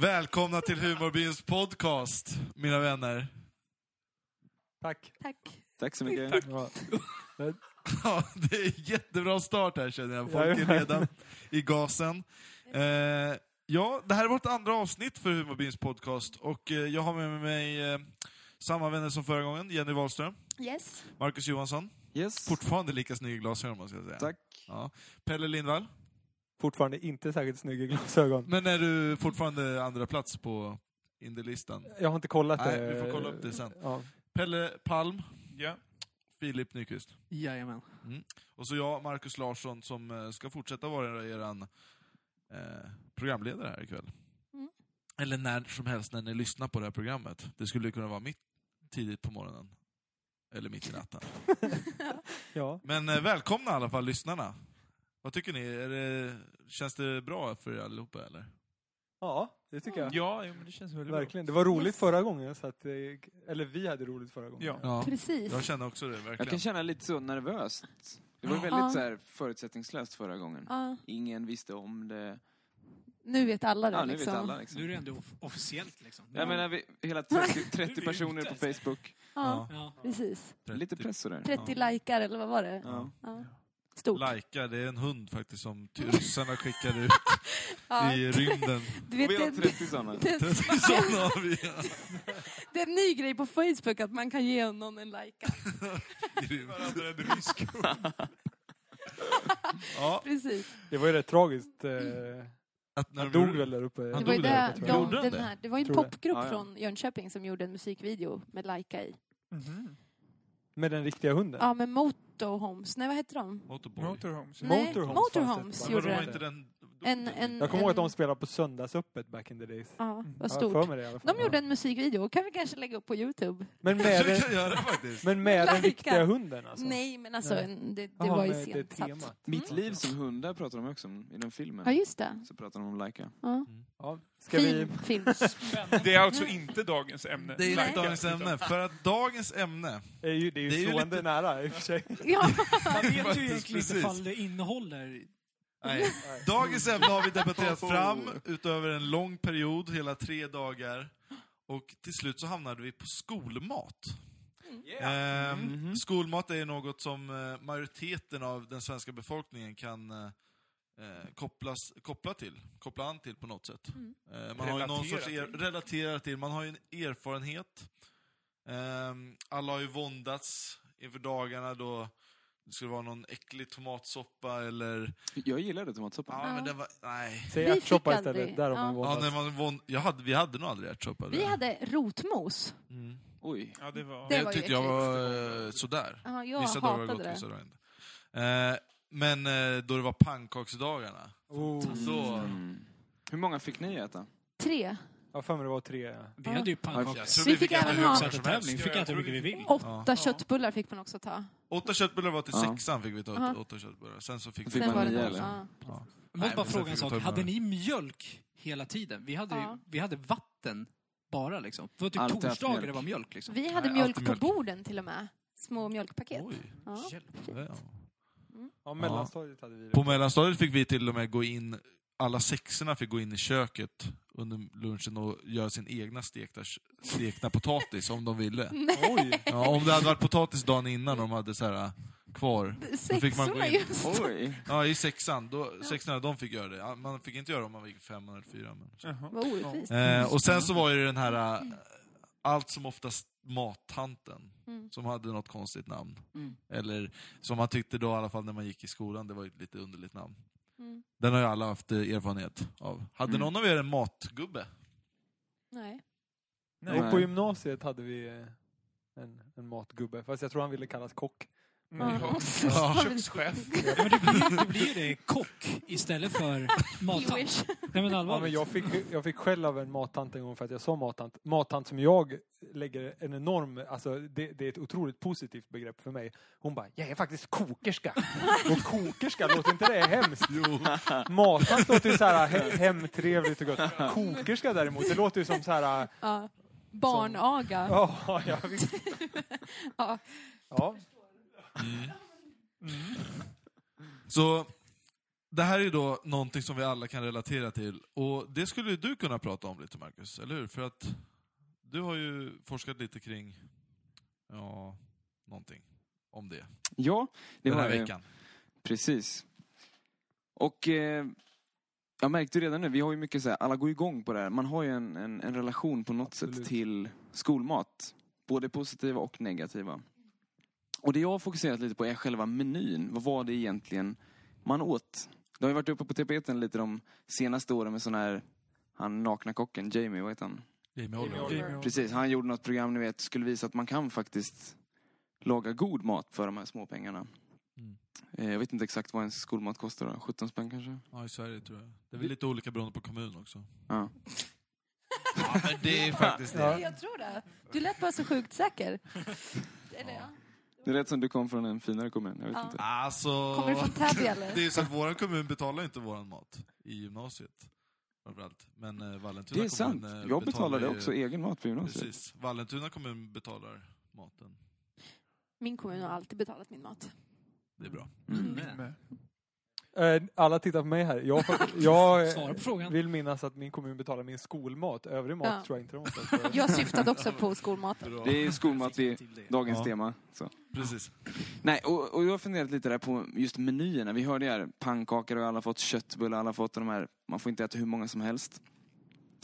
Välkomna till Humorbyns podcast, mina vänner. Tack. Tack. Tack så mycket. Ja. Ja, det är en jättebra start här känner jag. Folk är Jajamän. redan i gasen. Eh, ja, det här är vårt andra avsnitt för Humorbyns podcast och eh, jag har med mig eh, samma vänner som förra gången, Jenny Wahlström, Yes. Marcus Johansson, Yes. fortfarande lika snygg i glasögon måste jag säga. Tack. Ja. Pelle Lindvall, Fortfarande inte särskilt snygga glasögon. men är du fortfarande andra plats på Indielistan? Jag har inte kollat Nej, det. vi får kolla upp det sen. Ja. Pelle Palm, Ja. Filip Nyqvist. Mm. Jajamän. Och så jag, Marcus Larsson, som eh, ska fortsätta vara eran eh, programledare här ikväll. Mm. Eller när som helst när ni lyssnar på det här programmet. Det skulle kunna vara mitt tidigt på morgonen. Eller mitt i natten. Ja. Men eh, välkomna i alla fall lyssnarna. Vad tycker ni? Är det, känns det bra för er allihopa eller? ja, det tycker jag. Ja, jo, men det känns väldigt Verkligen. Det var roligt Yes. förra gången. Så att, eh, eller vi hade roligt förra gången. bra. Ja. Precis. Jag känner också det, verkligen. Jag kan känna lite så nervöst. Det var ju Ja. väldigt så här förutsättningslöst förra gången. Ja, Ingen visste om det. nu vet alla det. Ja, nu liksom. vet alla liksom. Nu är det ändå off- officiellt liksom. Jag menar, vi, hela 30, 30 ute. personer på Facebook. Ja, Ja. precis. Lite press sådär. 30 likar, eller vad var det? Ja. Ja. Stort. Likea, det är en hund faktiskt som ty- ryssarna skickade ut Ja. i rymden. Du vet, Och vi det, har det, 30 sådana. det, Sådana har vi. det är en ny grej på Facebook, att man kan ge någon en like. Grymt. Varandra en rysk Ja, Precis. Det var ju rätt tragiskt. eh, att när Han de- dog väl där uppe? Han Det var, ju dog där det, uppe, tror jag. de, Gjorde han den det? här, det var ju en Tror det. popgrupp Ja, ja. från Jönköping som gjorde en musikvideo med Laika i. Med den riktiga hunden? Ja, med Motorhomes. Nej, vad hette de? Motorboy. Motorhomes. Nej, Motorhomes Motorhomes fanns det. Men gjorde de var det. inte den... de- En, en, Jag kommer ihåg att de en- spelade på söndagsöppet back in the days. Ja, vad Ja, jag har stort. för mig det i alla fall. De gjorde en musikvideo, kan vi kanske lägga upp på Youtube? Men med, Kanske vi den, kan göra faktiskt. men med den Likar. riktiga hunden alltså? Nej, men alltså, Nej. en, det, det Jaha, var ju med det sent temat. Mitt Mm. liv som hundar pratar de också om i den Ja, filmen. just det. Så pratar de om Laika. Ja. Ja. Ska vi... Fin film. Det är alltså inte dagens ämne. Det är inte Nej. dagens ämne, för att dagens ämne... Är ju, det är ju Det är ju slående nära i och för sig. ja. Man vet Faktiskt, ju egentligen inte precis. ifall det innehåller... Nej. Dagens ämne har vi debatterat fram utöver en lång period, hela tre dagar. Och till slut så hamnade vi på skolmat. Ehm, Skolmat är ju något som eh, majoriteten av den svenska befolkningen kan eh, eh, kopplas, koppla till, koppla an till på något sätt. Eh, man har ju någon Relatera sorts er, relatera till, man har ju en erfarenhet. Ehm, alla har ju våndats inför dagarna då det skulle vara någon äcklig tomatsoppa eller... Jag gillade tomatsoppan. Ja, Ja. men den var... Nej. Säg Vi fick ärtsoppa aldrig. istället, där har man Ja. Ja, våndats. när man vånd... jag hade, vi hade nog aldrig ärtsoppa. Vi hade rotmos. Mm. Oj. Ja, det var... Det Jag var ju tyckte jag äckligt. var eh, sådär. Ja, jag vissa dagar var hatade gott, det. vissa dagar inte. Eh, men eh, då det var pannkaksdagarna, Oh, då... Mm. Hur många fick ni äta? Tre. jag har för mig det var tre. Vi hade ju Ja, jag tror pannkaks... Vi fick även äta hur ha- mycket som helst. Vi fick äta hur mycket vi vill. Åtta köttbullar fick man också ta. Åtta köttbullar var till Ja. sexan, fick vi ta Ja. åt- åtta köttbullar. Sen så fick Fick vi... Sen man var det nio, någon- eller? ja. Jag måste men bara fråga sen en fick vi ta sak. med Hade den. ni mjölk hela tiden? Vi hade, ju- Ja. vi hade vatten bara liksom. Det var typ Alltid haft torsdagar mjölk. det var mjölk liksom. Vi hade Nej, mjölk alltid på mjölk. borden till och med. Små mjölkpaket. Oj. Ja. Hjälp. Ja. Ja, mellanstadiet hade vi det. På mellanstadiet fick vi till och med gå in, alla sexorna fick gå in i köket under lunchen och göra sin egna stekta, stekna potatis om de ville. Oj! Ja, om det hade varit potatis dagen innan och de hade så här eh, kvar. Då fick man gå Sexorna in. just. Oj. Ja, i sexan, då, sexorna de fick göra det. Ja, Man fick inte göra det om man gick femman eller fyran. Men... Vad orättvist. Eh, och sen så var ju den här, eh, allt som oftast mattanten, Mm. som hade något konstigt namn. Mm. Eller som man tyckte då i alla fall när man gick i skolan, det var ju ett lite underligt namn. Mm. Den har ju alla haft eh, erfarenhet av. Hade Mm. någon av er en matgubbe? Nej. Nej. Och på gymnasiet hade vi eh, en, en matgubbe, fast jag tror han ville kallas kock. Ja. Ja. Kökschef. Ja, men det blir, det blir det kock istället för mattant. Jewish. Nej men Ja, men allvarligt. jag, fick, jag fick skäll av en mattant en gång för att jag sa mattant. Mattant som jag lägger en enorm, alltså det, det är ett otroligt positivt begrepp för mig. Hon bara, jag är faktiskt kokerska. Och kokerska, låter inte det hemskt? Jo. Mattant låter ju så här he- hemtrevligt och gott. Kokerska däremot, det låter ju som så här, Ja. Barnaga. ja, ja visst. Ja. Ja, Så det här är ju då någonting som vi alla kan relatera till. Och det skulle ju du kunna prata om lite, Marcus, eller hur? För att du har ju forskat lite kring, ja, någonting om det. Ja, det den har här jag ju. veckan. Precis. Och eh, jag märkte redan nu, vi har ju mycket så här, alla går igång på det här. Man har ju en, en, en relation på något sätt Absolut. till skolmat. Både positiva och negativa. Och det jag har fokuserat lite på är själva menyn. Vad var det egentligen man åt? Det har ju varit uppe på tapeten lite de senaste åren med sån här, han nakna kocken, Jamie, vad heter han? Jamie Oliver. Oliver. Precis, han gjorde något program, ni vet, skulle visa att man kan faktiskt laga god mat för de här små pengarna. Mm. Eh, Jag vet inte exakt vad en skolmat kostar då, 17 spänn kanske? Ja, i Sverige tror jag. Det är väl lite olika beroende på kommun också. Ja. Ja, men det är faktiskt Ja. Jag tror det. Du lät bara så sjukt säker. Eller, ja. Det lät som du kom från en finare kommun, jag vet Ja. inte. Alltså... Kommer du från Täby eller? Det är ju så att vår kommun betalar inte vår mat i gymnasiet. Framförallt. Men eh, Vallentuna Det är sant, kommun eh, jag betalade betalar ju- också egen mat på gymnasiet. Precis. Vallentuna kommun betalar maten. Min kommun har alltid betalat min mat. Det är bra. Mm. Med. Eh, Alla tittar på mig här. Jag, jag eh, Svara på frågan. vill minnas att min kommun betalar min skolmat. Övrig mat Ja. tror jag inte de betalar. Jag syftade också på skolmaten. bra. Det är ju skolmat vid dagens Ja. tema. Så. Precis. Nej, och, och jag har funderat lite där på just menyerna. Vi hörde ju här, pannkakor har alla fått, köttbullar har alla fått och de här, man får inte äta hur många som helst.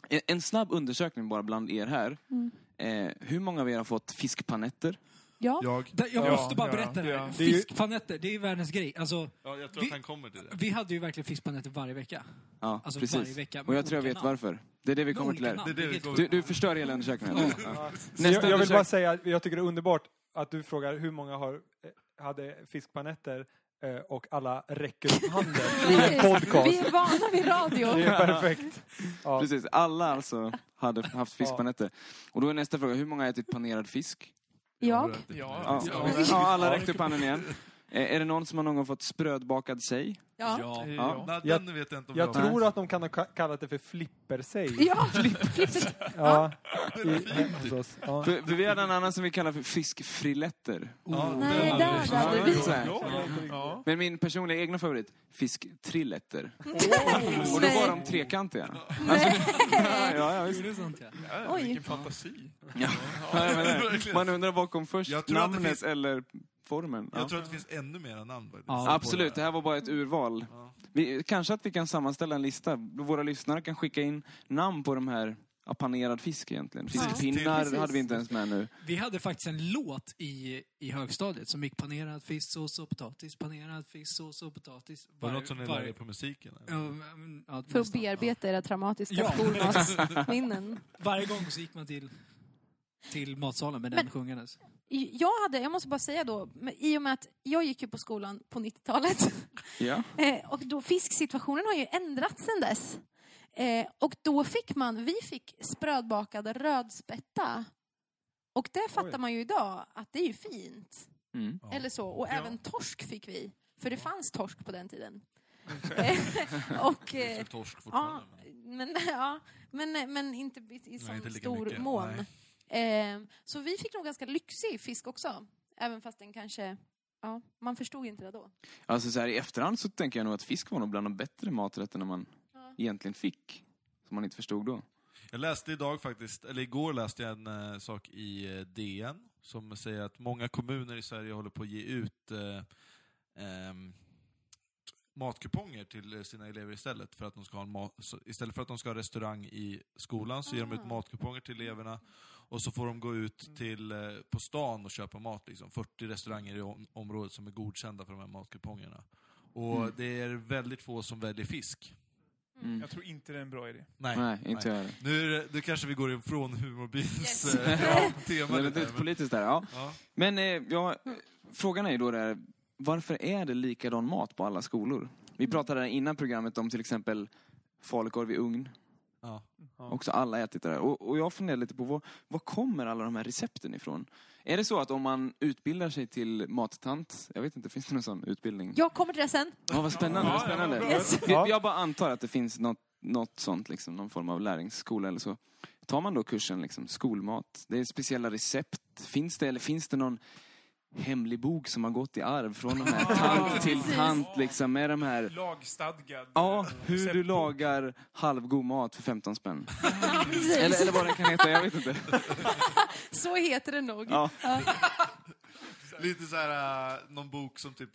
En, en snabb undersökning bara bland er här. Mm. Eh, hur många av er har fått fiskpanetter? Ja. Jag. Där- Jag Ja, måste bara ja, berätta det här. ja. Det är ju- Fiskpanetter, det är ju världens grej. Alltså, Ja, jag tror att Vi- han kommer till vi hade ju verkligen fiskpanetter varje vecka. Ja, Alltså varje precis. vecka. med Och jag tror jag olika vet namn. varför. Det är det vi Med kommer till olika här. namn, Det är det vi vilket- kommer Du, du förstör hela undersökningen. Ja. Ja. Jag, Nästa jag vill bara undersökning. säga att jag tycker det är underbart att du frågar hur många har, eh, hade fiskpanetter eh, och alla räcker upp handen i en Precis. Vi podcast. är vana vid Det radio. är perfekt. Ja. Precis, alla alltså hade haft fiskpanetter. Och då är nästa fråga, hur många har ätit panerad fisk? Jag. Ja. Ja, Ja. ja alla räckte typ. upp handen igen. Eh, Är det någon som har någon gång fått sprödbakad sig? Ja. Ja. Ja. Nej, Jag- den vet jag inte om jag, Jag tror att de kan ha ka- kallat det för flippersej. Ja, flippet. Ja. har. I, Det är fint. hos oss. Ja. För, för vi hade en annan som vi kallar för fiskfriletter. Ja, Nej, den där hade vi. hade Ja, vi. ja, Ja. ja. Ja. Men min personliga egna favorit, fisktriletter. Och då var Nej. de trekantiga. Nej. Ja, ja, visst. Gjorde sånt ja. Ja, Oj. Vilken fantasi. Ja. Ja, jag menar det. Verkligen. Man undrar vad kom först, Jag tror att det namnet finns- eller formen? Ja. Jag tror att det finns ännu mera namn faktiskt. Ja. Absolut, det här var bara ett urval. Ja. Vi, kanske att vi kan sammanställa en lista. Våra lyssnare kan skicka in namn på de här ja, panerad fisk egentligen. Precis. Fiskpinnar Precis. hade vi inte ens med nu. Vi hade faktiskt en låt i, i högstadiet som gick panerad fisk, sås och potatis, panerad fisk, sås och potatis. Var det Varje- något som ni varje- lärde er på musiken? eller? Ja, men, ja, För att nästan. bearbeta era traumatiska Ja. skolmatsminnen. Varje gång så gick man till, till matsalen med den Men- sjungandes. Jag hade, jag måste bara säga då, men i och med att jag gick ju på skolan på 90-talet Ja. eh, och då fisksituationen har ju ändrats sedan dess. Eh, Och då fick man, vi fick sprödbakad rödspätta. Och det fattar man ju idag att det är ju fint. Mm. Ja. Eller så. Och Ja. även torsk fick vi. För det fanns torsk på den tiden. Eh, och, Det är eh, väl torsk ja, fortfarande. men- men, ja, men, eh, men inte i, i Nej, inte sån lika stor mycket. mån. Nej. Ehm, så vi fick nog ganska lyxig fisk också. Även fast den kanske... Ja, man förstod inte det då. Alltså så här i efterhand så tänker jag nog att fisk var nog bland de bättre maträtterna man Ja. egentligen fick. Som man inte förstod då. Jag läste idag faktiskt, eller igår läste jag en eh, sak i eh, DN som säger att många kommuner i Sverige håller på att ge ut eh, ehm, matkuponger till eh, sina elever istället. För att de ska ha en ma- så- istället för att de ska ha restaurang i skolan så ger de ut Ah. matkuponger till eleverna. Och så får de gå ut till, eh, på stan och köpa mat. Liksom. 40 restauranger i om- området som är godkända för de här matkupongerna. Och Mm. det är väldigt få som väljer fisk. Mm. Jag tror inte det är en bra idé. Nej, inte jag heller. Nu, är det, nu kanske vi går ifrån humorbilens Yes. eh, ja, tema Det är lite. lite men- politiskt där, ja. Ja. Men eh, ja, frågan är ju då där, varför är det likadan mat på alla skolor? Vi pratade där innan programmet om till exempel falukorv i ugn. Ja. Också alla ätit det där. Och, och jag funderar lite på, var, var kommer alla de här recepten ifrån? Är det så att om man utbildar sig till mattant, jag vet inte, finns det någon sån utbildning? Jag kommer till det sen. Ja, vad spännande, vad spännande. Yes. Ja. Jag, jag bara antar att det finns något, något sånt, liksom, någon form av lärlingsskola eller så. Tar man då kursen liksom, skolmat, det är speciella recept, finns det eller finns det någon hemlig bok som har gått i arv från de här tant till tant liksom med de här Lagstadgad. Ja, hur du Receptbok. lagar halvgod mat för 15 spänn. eller, eller vad den kan heta, jag vet inte. Så heter det nog. Ja. Lite så här, eh, någon bok som typ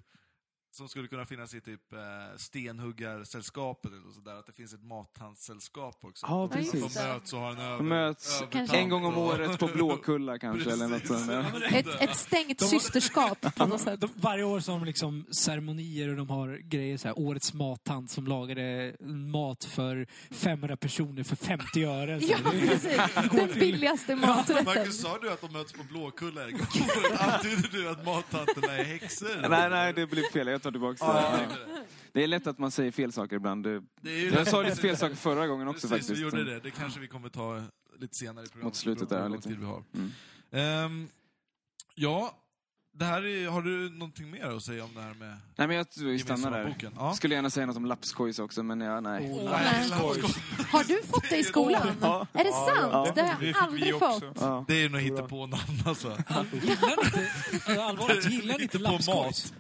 som skulle kunna finnas i typ eh, stenhuggarsällskapet eller sådär, att det finns ett mathandelssällskap också. Ja, Att de- Att precis. de möts och har en över, De möts övertant en gång om och- året på Blåkulla kanske eller något Precis. sånt. där. Ett, ett stängt systerskap på något sätt. De, varje år som liksom ceremonier och de har grejer så här, årets mattant som lagade mat för 500 personer för 50 öre. Så Ja, det är- precis. Den billigaste maträtten. Marcus, sa du att de möts på Blåkulla en gång om året? Antyder du att mattanterna är häxor? Nej, nej, det blev fel. Jag tar tillbaka det. Ja, jag Ja. tänkte det. Det är lätt att man säger fel saker ibland. Det- Det är ju Jag sa lite fel saker förra gången också Precis, vi faktiskt. gjorde det. Det kanske vi kommer ta lite senare i programmet. Mot slutet där, liksom. Mm. beroende på hur lite. lång Tid vi har. Ehm, ja, det här är, har du någonting mer att säga om det här med Nej, men jag tror vi stannar där. boken? Ja. Skulle gärna säga något om lappskojs också, men ja, nej. Åh, nej. Nej, Nej. skoj. Har du fått det i skolan? Ja. Är det sant? Det har Vi jag fick vi aldrig också. fått. Ja. Det är ju nog hittepånamn alltså. Gillar ni inte, äh, allvarligt, gillar ni inte Inte på lappskojs?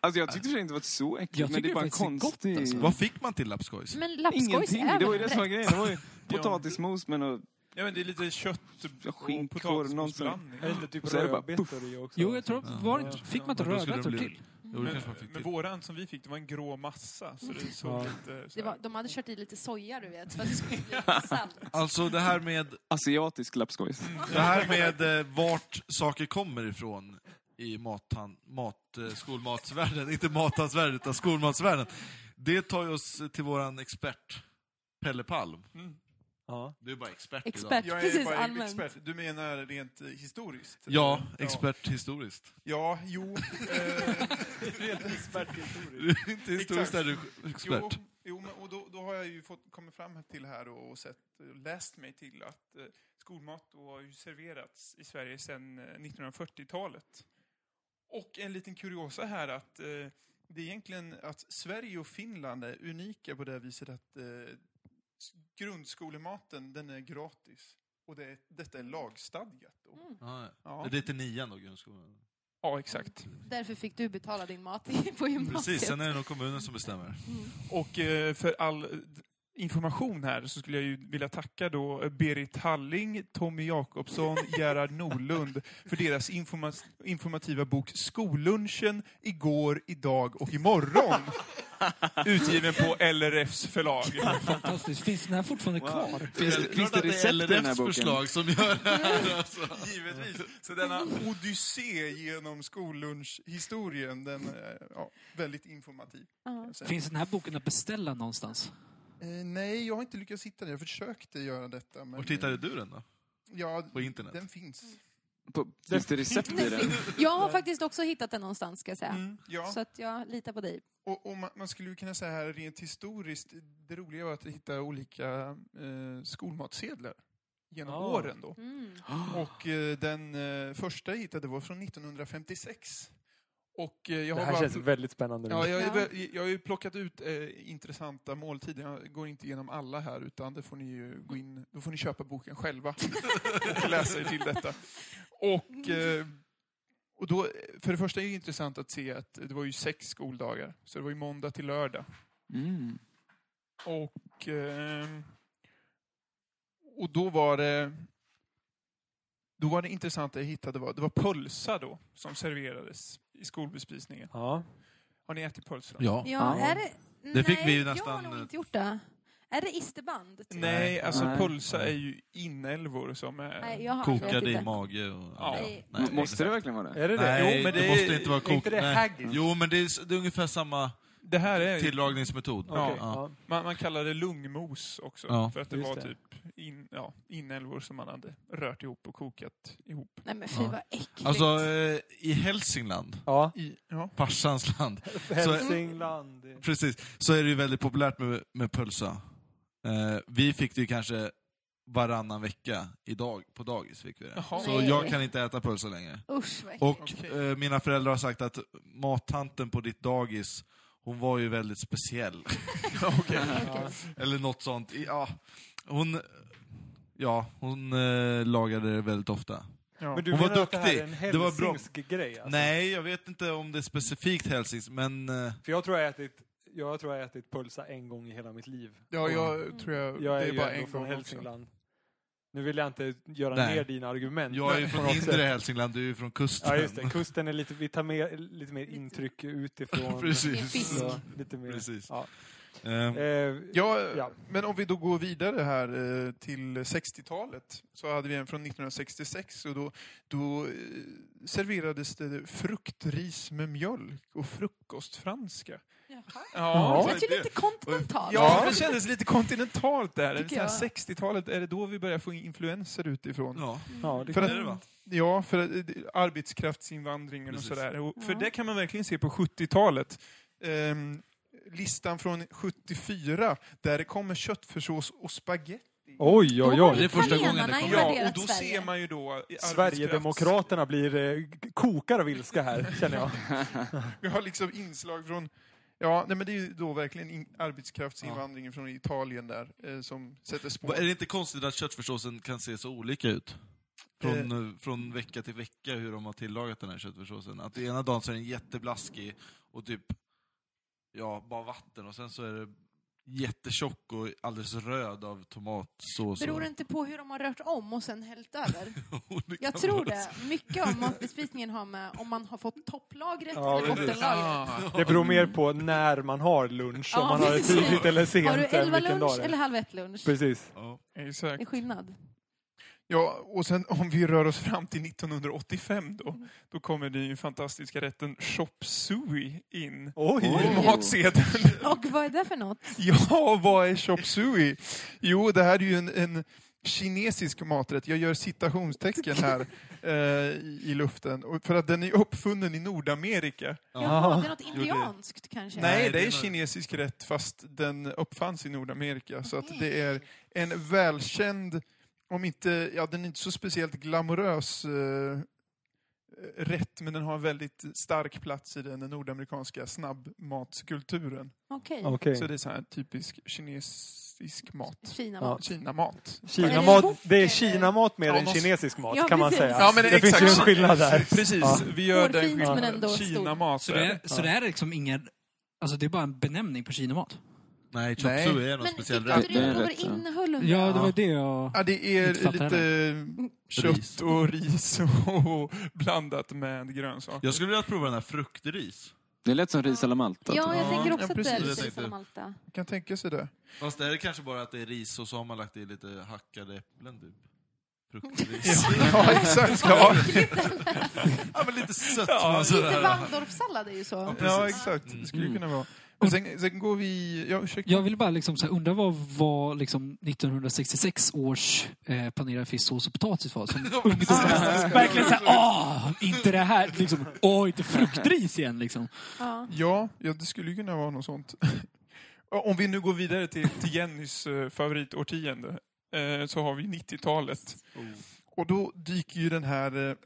Alltså, jag tyckte för sig inte det var så äckligt, Jag men det är tycker bara en faktiskt det är konstig... gott, alltså. Vad fick man till lappskojs? Men lappskojs Ingenting, är det var ju väl det som var rätt? grejen. Det var ju potatismos med något Ja, men det är lite kött Ja, och skinkorv, potatismosblandning. Är det inte typ Så är det bara rödbetor i också? Jo, jag tror, var det inte, fick man inte Ja, då skulle rödbetor det bli- till? Jo, det kanske man fick Men till. våran som vi fick, det var en grå massa. Så det såg Ja. lite... Så Det här. var, de hade kört i lite soja, du vet, för att det skulle bli salt. Alltså det här med, asiatisk lappskojs. det här med eh, vart saker kommer ifrån i mathan, mat, eh, skolmatsvärlden, inte mathandsvärlden utan skolmatsvärlden. Det tar ju oss till våran expert, Pelle Palm. Ja. Du är bara expert, Expert, idag. Jag är precis, bara allmänt. expert. Du menar rent eh, historiskt? Ja, expert historiskt. Ja, jo. eh, Helt experthistoriskt. Du är inte historiskt Exakt. är du expert. Jo, jo men, och då, då har jag ju fått, kommit fram till här och, och sett, eh, läst mig till att eh, skolmat då har ju serverats i Sverige sedan eh, 1940-talet. Och en liten kuriosa här att eh, det är egentligen att Sverige och Finland är unika på det viset att eh, s- grundskolematen den är gratis. Och det, är- detta är lagstadgat. Då. Ja, Ja. Det är till nian då, grundskolan. Mm. ja, exakt. Därför fick du betala din mat i- på gymnasiet. Precis, sen är det nog kommunen som bestämmer. Och eh, för all eh, information här så skulle jag ju vilja tacka då eh, Berit Halling, Tommy Jakobsson, Gerhard Norlund för deras informa informativa bok Skollunchen igår, idag och imorgon. Utgiven på LRFs förlag. Fantastiskt. Finns den här fortfarande kvar? Finns det, finns det Klart att recept i den här LRFs boken? förslag som gör det här. Alltså. Givetvis. Så denna odyssé genom skollunchhistorien, den är ja, väldigt informativ. kan jag säga. Finns den här boken att beställa någonstans? Eh, nej, jag har inte lyckats hitta den. Jag försökte göra detta. Men, eh, Var tittade du den då? ja, På internet? den finns. På, finns det recept i den? Jag har faktiskt också hittat den någonstans, ska jag säga. Mm. Ja. Så att jag litar på dig. Och, och man, man skulle ju kunna säga här rent historiskt, det roliga var att hitta olika eh, skolmatsedlar genom Ah. åren då. Mm. Och eh, den eh, första jag hittade var från 1956. Och eh, jag Det har här bara... känns väldigt spännande. nu. Ja, jag, Ja. jag har ju plockat ut eh, intressanta måltider. Jag går inte igenom alla här, utan det får ni ju gå in, då får ni köpa boken själva och läsa er till detta. Och, eh, och då, för det första är det intressant att se att det var ju sex skoldagar, så det var ju måndag till lördag. Mm. Och, eh, och då var det... Då var det intressanta jag hittade var, det var pölsa då, som serverades i skolbespisningen. Ja. Har ni ätit pölsa? Ja. Ja, är det... Det fick Nej, vi ju jag har nästan- nog inte gjort det. Är det isterband? typ? Nej, alltså Nej. pulsa är ju inälvor som är... Nej, jag har jag Kokade vet i inte. mage och... Ja. Nej. M- Måste det verkligen vara det? Är det det? Nej, Jo, det, men det är- måste inte vara är kokt. inte det Nej. haggis? Jo, men det är, s- det är ungefär samma Det här är... tillagningsmetod. Ja. Okej, ja. Man, man kallar det lungmos också, Ja, för att det just var det. typ in, ja, inälvor som man hade rört ihop och kokat ihop. Nej, men fy Ja. vad äckligt. Alltså, eh, i Hälsingland, ja. I, ja. farsans land, Hälsingland. precis, så är det ju väldigt populärt med, med pölsa. Eh, vi fick det ju kanske varannan vecka idag, på dagis. Fick vi det. Jaha. Så Nej. jag kan inte äta pölsa längre. Usch, vad äckligt. Och Okej. eh, mina föräldrar har sagt att mattanten på ditt dagis, hon var ju väldigt speciell. Okej. Eller något sånt. I- Ja, hon, ja, hon eh, lagade det väldigt ofta. Ja. Men du Hon var menar att det här duktig. är en Det var bra. hälsingsk grej? Alltså? Nej, jag vet inte om det är specifikt Helsings, men... eh, För jag tror jag har ätit, jag tror jag har ätit pölsa en gång i hela mitt liv. Ja, jag tror jag... Jag är, det är ju bara ändå en från gång också. Hälsingland. Nu vill jag inte göra Nej. ner dina argument. Jag är ju på från något sätt. inre Hälsingland, du är ju från kusten. Ja, just det. Kusten är lite, vi tar mer, lite mer intryck utifrån. Precis. Fisk. Så, lite mer. Precis. Ja. Ehm, Eh, Ja, Ja. men om vi då går vidare här eh, till 60-talet så hade vi en från 1966 och då, då eh, serverades det fruktris med mjölk och frukostfranska. Jaha. Ja, Det lät ju lite kontinentalt. ja det kändes lite kontinentalt där. Tycker jag. Så här 60-talet, är det då vi börjar få influenser utifrån? Ja, Mm. ja, det För det att- är det va? Ja, för eh, arbetskraftsinvandringen Precis. och sådär. Och För Ja. det kan man verkligen se på 70-talet. Ehm, listan från 74 där det kommer köttfärssås och spagetti. Oj, oj, Då var Det är för- oj. första gången det italienarna kommer. Ja, invaderat och då Sverige. ser man ju då... i arbetskrafts- Sverigedemokraterna blir eh, kokar av ilska här, känner jag. Vi har liksom inslag från... Ja, nej, men det är ju då verkligen in, arbetskraftsinvandringen från Italien där eh, som sätter spår. Är det inte konstigt att köttfärssåsen kan se så olika ut? Från, eh. från vecka till vecka hur de har tillagat den här köttfärssåsen. Att ena dagen så är den jätteblaskig och typ, ja, bara vatten. Och sen så är det jättetjock och alldeles röd av tomatsås. Beror det och... inte på hur de har rört om och sen hällt över? Jo, det Jag kan tror vara det. så. Mycket av matbespisningen har med om man har fått topplagret Ja, eller precis. bottenlagret. Det beror mer på när man har lunch, om Ja, man har det precis. tidigt eller sent. Har du än elva vilken dag lunch det är. eller halv ett lunch? Precis. Ja. Det är Exakt. skillnad. Ja, och sen om vi rör oss fram till 1985 då, då kommer den ju fantastiska rätten chop suey in. Oj! på Matsedeln. Och vad är det för något? Ja, vad är chop suey? Jo, det här är ju en, en kinesisk maträtt. Jag gör citationstecken här eh, i, i luften. Och för att den är uppfunnen i Nordamerika. Jaha, det är något det- indianskt kanske? Nej, det det är är- kinesisk rätt fast den uppfanns i Nordamerika. Så att Okej. det är en välkänd, om inte, ja den är inte så speciellt glamorös eh, rätt, men den har en väldigt stark plats i den nordamerikanska snabbmatskulturen. Okej. Okej. Så det är så här typisk kinesisk mat. Kina Ja. mat. Kinamat. Kinamat, Eller- det är kinamat mer Ja, än något- kinesisk mat, Ja, kan man precis. säga. Ja, men det exakt. finns ju en skillnad där. Precis, Ja. vi gör den Hårfint, men skillnaden. ändå stor. Kinamat. Så det, är, så det här är liksom ingen... Alltså det är bara en benämning på kinamat. Nej, chop Nej. suey är något Men fick speciellt. rätt. inte du Det är reda på vad rätt, det ja. innehöll undrar Ja, jag? det var det jag... Ja, det är Inte fattar lite Ris. kött och ris och blandat med grönsaker. Jag skulle vilja prova den här fruktris. Det lät som typ. ris à la Malta. Ja, jag Ja, tänker ja, också att det är precis. Jag lite tänkte- som Malta. Jag kan tänka sig det. Fast det är kanske bara att det är ris och så har man lagt i lite hackade äpplen typ. Fruktris. Ja, exakt. Ja, ja, men lite sött. Ja, men sådär. Lite Waldorfsallad är ju så. ja exakt. Det skulle Mm. kunna vara. Men sen, sen går vi... Ja, ursäkta. Jag vill bara liksom så här, undra vad, vad liksom 1966 års eh, panerad fisk, sås och potatis var. Som ungdom. Verkligen såhär, åh, inte det här. Liksom, åh, inte fruktris igen liksom. Ja. Ja, ja, det skulle ju kunna vara något sånt. Om vi nu går vidare till, till Jennys eh, favoritårtionde eh, så har vi 90-talet. Oh. Och då dyker ju den här eh,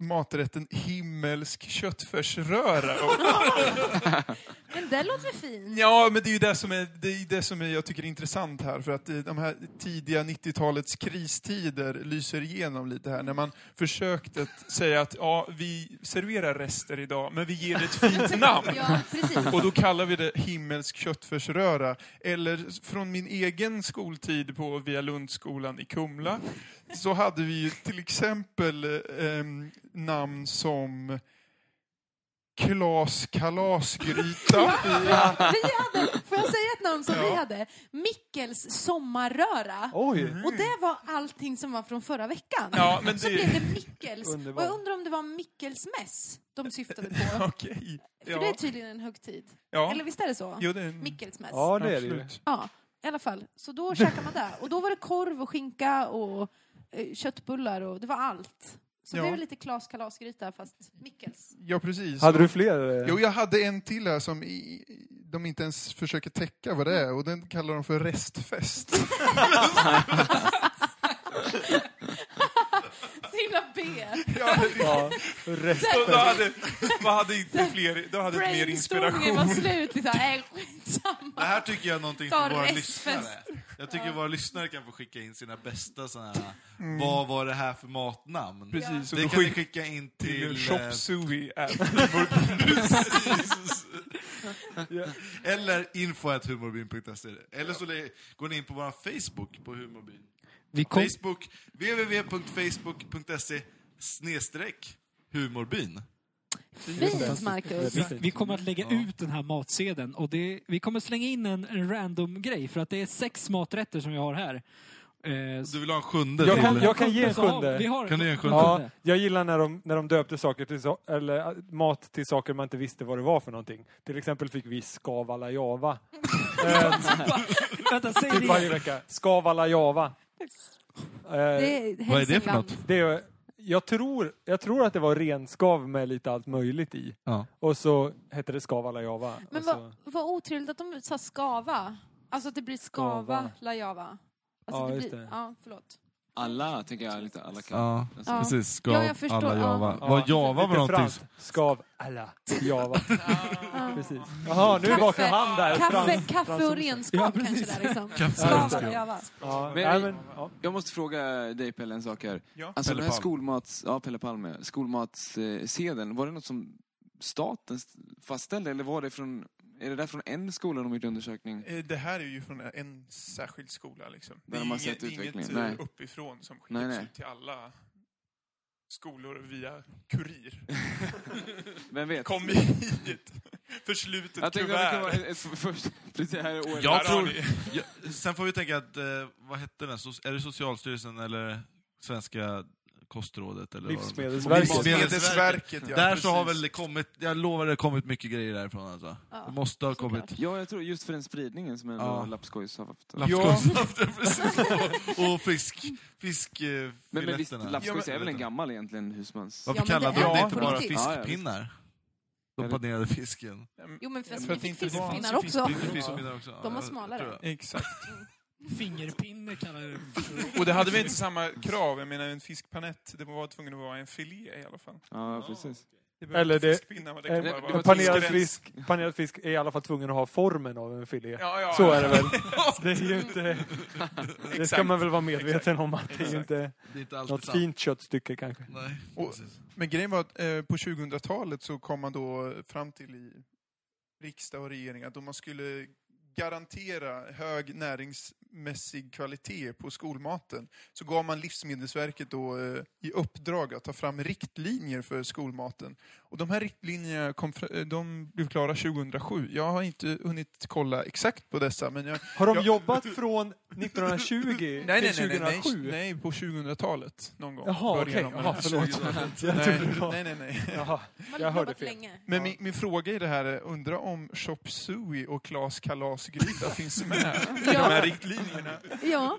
maträtten himmelsk köttfärsröra upp. Men det låter väl fint? Ja, men det är ju det som, är, det är ju det som är, jag tycker är intressant här. För att eh, de här tidiga 90-talets kristider lyser igenom lite här. När man försökt att säga att ja, vi serverar rester idag, men vi ger det ett fint namn. Ja, precis. Och då kallar vi det himmelsk köttfärsröra. Eller från min egen skoltid på Via Lundskolan i Kumla så hade vi ju till exempel ehm, namn som Klas kalasgryta. Vi hade, får jag säga ett namn som vi hade? Mickels sommarröra. Oj! Och det var allting som var från förra veckan. Mm. Ja, men Så det- blev det Mickels. Underbart. Och jag undrar om det var Mickels mäss de syftade på. För Okej. det är Ja. tydligen en högtid. ja. Eller visst är det så? Jo, det är en... Mickels mäss. Ja, det är det ju. Absolut. Ja, i alla fall. Så då käkade man det. Och då var det korv och skinka och eh, köttbullar och det var allt. Så Ja. det var lite Klas kalasgryta fast Mickels. Ja, precis. Hade du fler? eh? Jo, jag hade en till här som i, i- de inte ens försöker täcka vad det är och den kallar de för restfest. Så himla B! Ja, Ja, rätt. då hade, då hade inte fler, då hade inte mer Brainstormingen var inspiration. slut. Liksom. Äh, skitsamma. Det här tycker jag är någonting Ta för våra restfest. lyssnare. Jag tycker våra lyssnare kan få skicka in sina bästa såna här, vad var det här för matnamn? Precis, och Det då kan ni skickar skicka in till... till eh, Shop Suey app. Precis. Eller info.humorbyn.se. E. Eller så le- går ni in på vår Facebook på Humorbyn. Vi kom, Facebook, www.facebook.se E snedstreck humorbyn. Fint, Marcus. Väldigt fint. vi kommer att lägga ut den här matsedeln och det, vi kommer slänga in en, en random grej för att det är sex maträtter som vi har här. Eh, så- Du vill ha en sjunde Jag till? kan- jag- ge en Så har- sjunde. Vi har, Kan du ge en sjunde? Ja, jag gillar när de, när de döpte saker till so- eller äh, mat till saker man inte visste vad det var för någonting. Till exempel fick vi skavalajava eh, Vänta, säg det typ varje igen. vecka. Skavalajava. Eh, Det är Vad är det för något? det är, jag, tror, jag tror att det var renskav med lite allt möjligt i. Ja. Och så hette det skavalajava. Men och så, vad, vad otrevligt att de sa skava. Alltså att det blir skava, Skava. lajava. Alltså Ja, det just blir, det. ja, förlåt. Alla, tänker jag, lite alla kan. Ja, Alltså, Ja. precis. Ska Ja, jag förstår. alla java. Ja. Vad java var Lite någonting? franskt. som- Skav alla java. Ja. Precis. Jaha, nu Kaffe. vaknar han där. Kaffe, Frans- kaffe och fransosen. renskap Ja, kanske precis. där liksom. Kaffe och Skava, renskap. lajava. Ja, Men- nej, men, ja. Jag måste fråga dig Pelle en sak här. Ja. Alltså Pelle den här Palm. skolmats... Ja, Pelle Palme. Skolmatssedeln, var det något som staten st- fastställde eller var det från... Är det där från en skola de gjort undersökning? Eh, Det här är ju från en särskild skola. Liksom. Där de har sett utvecklingen. inget eh, Nej. uppifrån som skickas Nej, nej. ut till alla skolor via kurir. Vem vet? Kom hit! Förslutet jag tänkte att det kuvert. kan vara ett, ett först... Precis det här året. Jag Där har tror- ni. Ja, sen får vi tänka att, eh, vad hette den? So- Är det Socialstyrelsen eller Svenska kostrådet? Eller vad de- Livsmedelsverket. Livsmedelsverket, ja, där så har precis. väl det kommit, jag lovar det har kommit mycket grejer därifrån alltså. Ja, det måste ha kommit. såklart. Ja, jag tror just för den spridningen som ändå Ja. Lapskojs har haft. Lappskonsaften precis. Och fisk, eh, Men, men visst, fiskfiletterna. Lapskojs är väl en gammal egentligen husmans... Ja, Varför men kallade det de är det ju inte på bara riktigt. Ja, ja, visst. fiskpinnar? De panerade fisken. Mm. Jo men för, För vi att fick inte det fanns fiskpinnar så också. finns det ju fisk. Fiskpinnar också. De var Ja, smalare. tror jag. Exakt. Fingerpinne kallar jag det. Och det hade väl inte samma krav. Jag menar en fiskpanett, det var tvungen att vara en filé i alla fall. Ja, precis. Det Eller behövde det- fiskpinnar, men det kan bara En, vara en Eh, panerad, fiskgräns. fisk, panerad fisk är i alla fall tvungen att ha formen av en filé. Ja, ja, Så ja. är det väl. Det, är ju inte, det ska Exakt. man väl vara medveten Exakt. om att det är ju inte Det är inte alltid något sant. fint köttstycke kanske. Nej, Och- precis. Men grejen var att eh, på 2000-talet så kom man då fram till i riksdag och regering att om man skulle garantera hög näringsmässig kvalitet på skolmaten så gav man Livsmedelsverket då eh, i uppdrag att ta fram riktlinjer för skolmaten. Och de här riktlinjerna kom, fra- eh, de blev klara 2007. Jag har inte hunnit kolla exakt på dessa men jag... Har de jag, jobbat från 1920 nej, nej, till nej, nej, 2007? nej, nej, på 2000-talet någon gång. Jaha, började okej. de med Jaha, det. förlåt. Jag trodde det Nej, var- nej, nej, nej. Jaha. Man Jag har hörde jobbat fel. länge. Men min, min fråga i det här är, undra om Chop Suey och Klas Kalasgryta finns med i de här riktlinjerna? Ja,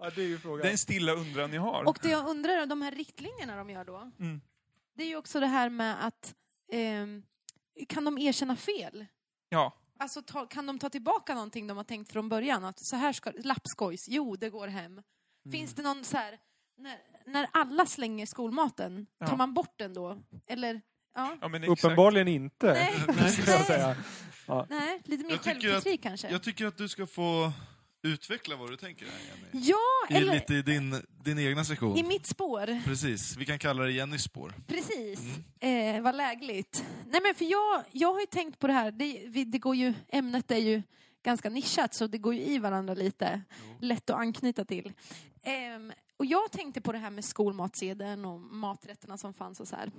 Ja, det är ju Det är frågan. en stilla undran ni har. och det jag undrar är de här riktlinjerna de gör då. Mm. Det är ju också det här med att ehm, kan de erkänna fel? Ja, Alltså ta, kan de ta tillbaka någonting de har tänkt från början? Att så här ska, lappskojs, jo det går hem. Finns det någon så här, när, när alla slänger skolmaten, tar Ja. man bort den då? Eller, ja, ja men exakt. Uppenbarligen inte, nej, ska jag säga. nej, lite mer Jag tycker att- självkritik kanske. Jag tycker att du ska få utveckla vad du tänker här, Jenny. Ja, I, eller lite i din, din egna sektion. i mitt spår. Precis, vi kan kalla det Jennys spår. Precis. Eh, vad lägligt. Nej, men för jag, jag har ju tänkt på det här, det, vi, det går ju, ämnet är ju ganska nischat så det går ju i varandra lite. Lätt att anknyta till. Ehm, och jag tänkte på det här med skolmatsedeln och maträtterna som fanns och så här.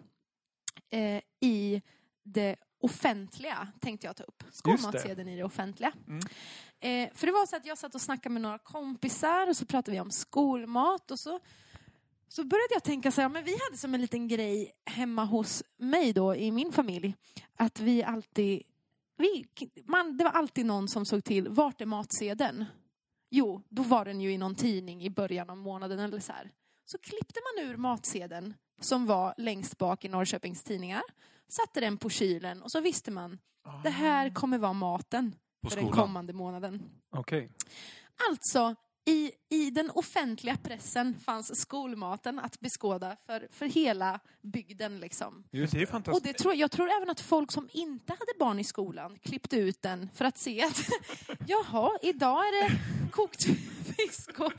Eh, I det offentliga tänkte jag ta upp. Skolmatsedeln i det offentliga. Eh, för det var så att jag satt och snackade med några kompisar och så pratade vi om skolmat och så så började jag tänka så här, men vi hade som en liten grej hemma hos mig då i min familj att vi alltid, vi, man, det var alltid någon som såg till, vart är matsedeln? Jo, då var den ju i någon tidning i början av månaden eller så här. Så klippte man ur matsedeln som var längst bak i Norrköpings tidningar, satte den på kylen och så visste man, det här kommer vara maten Ah." På för den skolan. kommande månaden. Okej. Alltså, i, i den offentliga pressen fanns skolmaten att beskåda för, för hela bygden. Liksom. Just det. Och alltså- det tror, jag tror även att folk som inte hade barn i skolan klippte ut den för att se att jaha, idag är det kokt fisk och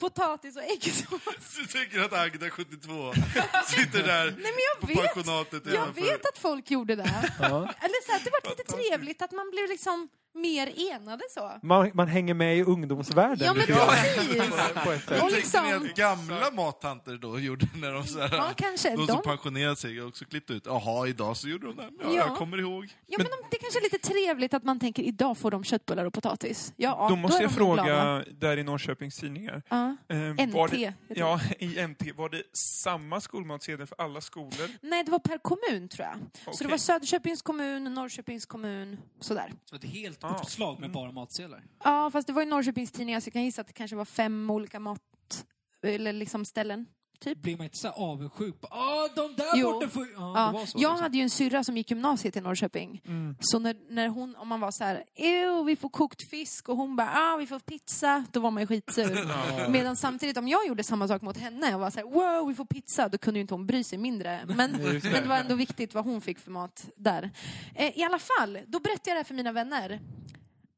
potatis och äggsås. Du tänker att Agda, 72, sitter där Nej, men på jag vet, pensionatet jag nedanför. vet att folk gjorde det. Ja. Eller så här, det var lite trevligt att man blev liksom mer enade så. Man, man hänger med i ungdomsvärlden. Ja, men lite grann, precis. på ett sätt. Hur Och tänkte ni liksom, att gamla mattanter då gjorde när de så här, ja, kanske de de som pensionerat sig också klippt ut? Jaha, idag så gjorde de det. Ja, Ja. Jag kommer ihåg. Ja, men de, det kanske är lite trevligt att man tänker idag får de köttbullar och potatis. Ja, Då är måste de jag nog glada. fråga där i Norrköpings tidningar. Ja. Eh, var NT. det, heter det. ja, i NT. Var det samma skolmatsedel för alla skolor? Nej, det var per kommun tror jag. Så Okej. det var Söderköpings kommun, Norrköpings kommun, sådär. Så ett helt Ah. uppslag med bara matsedlar. Ja, fast det var ju Norrköpings tidningar så jag kan gissa att det kanske var fem olika mat... Eller liksom ställen. Blir man inte så här avundsjuk på ah, de där Jo. borta får ju... Ja, det var Ja, så. jag liksom. hade ju en syrra som gick gymnasiet i Norrköping. Så när, när hon, om man var så här, "Ew, vi får kokt fisk och hon bara, ah, vi får pizza, då var man ju skitsur. Medan samtidigt om jag gjorde samma sak mot henne och var så här, wow, vi får pizza, då kunde ju inte hon bry sig mindre. Men, men det var ändå viktigt vad hon fick för mat där. Eh, I alla fall, då berättade jag det här för mina vänner.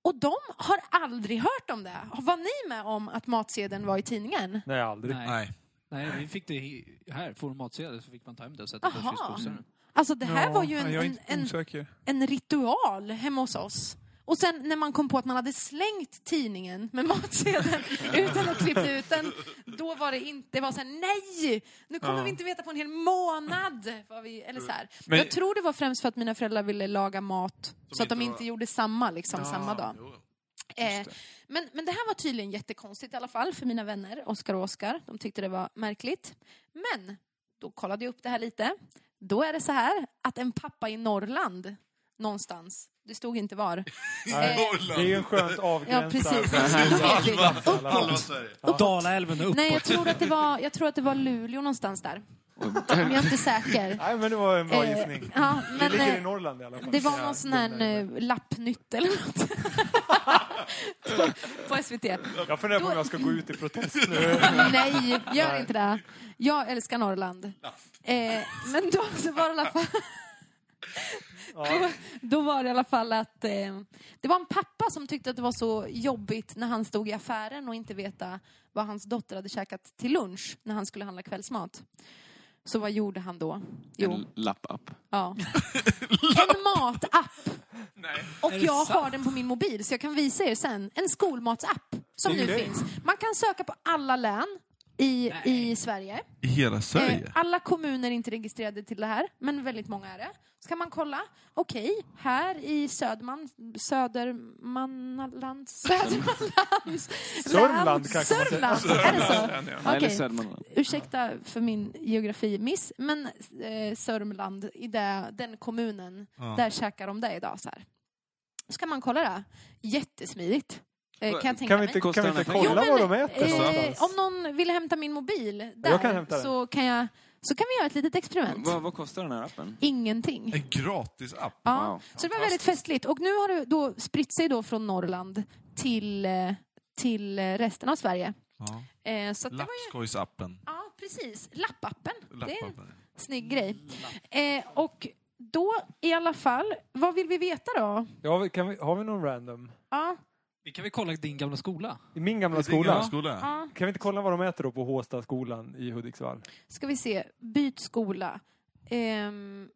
Och de har aldrig hört om det. Var ni med om att matsedeln var i tidningen? Nej, aldrig. Nej. Nej, vi fick det i- här. Får du matsedel så fick man ta hem det och sätta på Aha. fryspåsen. Alltså det här Ja, var ju en, Jag är en, inte en osäker. en ritual hemma hos oss. Och sen när man kom på att man hade slängt tidningen med matsedeln utan att klippt ut den, då var det inte, det var så här, nej! Nu kommer Ja. vi inte veta på en hel månad! Var vi, eller så här. Men- Jag tror det var främst för att mina föräldrar ville laga mat så att de inte inte var- gjorde samma liksom, Ja, samma dag. Jo. Eh, men, men det här var tydligen jättekonstigt i alla fall för mina vänner, Oskar och Oskar. De tyckte det var märkligt. Men då kollade jag upp det här lite. Då är det så här att en pappa i Norrland någonstans, det stod inte var. Nej. Det är ju en skönt Ja, avgränsad... precis. Halva, Uppåt. halva Sverige. Ja. Dalaälven och uppåt. Nej, jag tror, att det var, jag tror att det var Luleå någonstans där. Jag är inte säker. Nej, men det var en bra Eh, gissning. Ja, Det men, ligger i eh, Norrland i alla fall. Det var någon sån här eh, lappnytt eller något. på, på SVT. Jag funderar på om jag ska gå ut i protest nu. Nej, gör inte det. Jag älskar Norrland. Eh, men då så var det i alla fall... Ja. Då var det i alla fall att eh, det var en pappa som tyckte att det var så jobbigt när han stod i affären och inte veta vad hans dotter hade käkat till lunch när han skulle handla kvällsmat. Så vad gjorde han då? Jo, En lapp-app. ja. En matapp. Nej. Och Är det jag har sant? den på min mobil så jag kan visa er sen. En skolmatsapp som nu Okej. finns. Man kan söka på alla län i, Nej. i Sverige. I hela Eh, alla kommuner är inte registrerade till det här, men väldigt många är det. Så kan man kolla. Okej, här i Söderman, Södermanland, Södermanlands... Sörmland land- kanske man säger. Alltså, Sörmland, är det så? Sen, ja. Nej, Eller Okej. Södermanland. Ursäkta för min geografimiss, men eh, Sörmland, i det, den kommunen, Ja. där käkar de det idag. Så, här. så kan man kolla det. Jättesmidigt. Eh, kan jag tänka Kan vi inte, mig. kan vi inte Jo, kolla men, vad de äter Eh, om någonstans? någon vill hämta min mobil där, Jag kan hämta den. så, kan jag, så kan vi göra ett litet experiment. Vad, vad kostar den här appen? Ingenting. En gratis app. Ja. Wow. Så det var väldigt festligt. Och nu har det då spritt sig då från Norrland till, eh, till eh, resten av Sverige. Ja. Eh, så att det var ju, Lappskojsappen. ja, precis. Lappappen. Det är en Lappappen. snygg grej. Mm, Eh, och då i alla fall, vad vill vi veta då? Ja, vi- kan vi, har vi någon random? Ja, Vi kan väl kolla din gamla skola? I min gamla Det är en gammal skola. skola. ja. Kan vi inte kolla vad de äter då på Håstaskolan i Hudiksvall? Ska vi se. Byt skola. Ehm,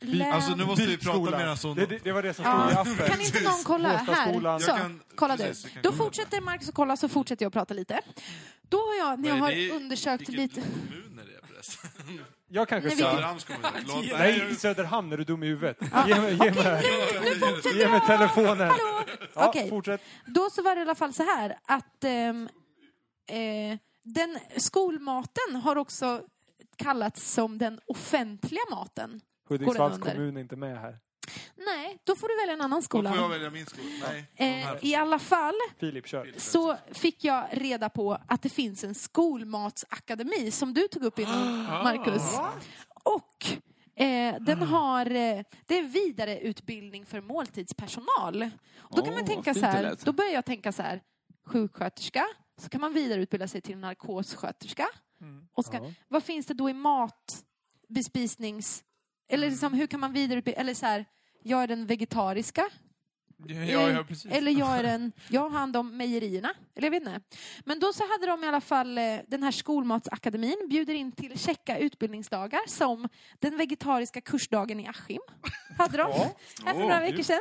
län- Alltså nu måste vi prata Byskola. medan hon... Det, det, det var det som stod Ja. i appen. Kan inte någon kolla här? Håstaskolan. Jag Så, kan- kolla du. precis, vi kan Då kolla. fortsätter Marcus att kolla så fortsätter jag att prata lite. Då har jag, när jag Vad är har det- undersökt Vilket lite... kommun är det förresten? Jag kanske Nej, vi- sa... Söderhamns kommun. Låt- Nej, i Söderhamn är du dum i huvudet. Ge mig, ge mig, Nu fortsätter ge mig jag! telefonen. Hallå! Ja, Okej. fortsätt. Då så var det i alla fall så här att ehm, eh, den skolmaten har också kallats som den offentliga maten. Hudiksvalls under? kommun är inte med här. Nej, då får du välja en annan Då får jag skola. välja min skola. Nej. den här. Eh, I alla fall Filip, kör. så fick jag reda på att det finns en skolmatsakademi som du tog upp innan, Ah. Markus. Och eh, Mm. den har, eh, det är vidareutbildning för måltidspersonal. Då kan man Åh, tänka vad så fint det här, lät. då börjar jag tänka så här, sjuksköterska, så kan man vidareutbilda sig till narkossköterska. Mm. Och ska, Ja. Vad finns det då i Mm. matbespisnings... Eller liksom, hur kan man vidareutbilda, eller så här, jag är den vegetariska Ja, ja, precis. Eller jag är den, jag har hand om mejerierna. Eller jag vet inte. Men då så hade de i alla fall eh, den här skolmatsakademin bjuder in till checka utbildningsdagar som den vegetariska kursdagen i Askim. Hade de här för några veckor sedan.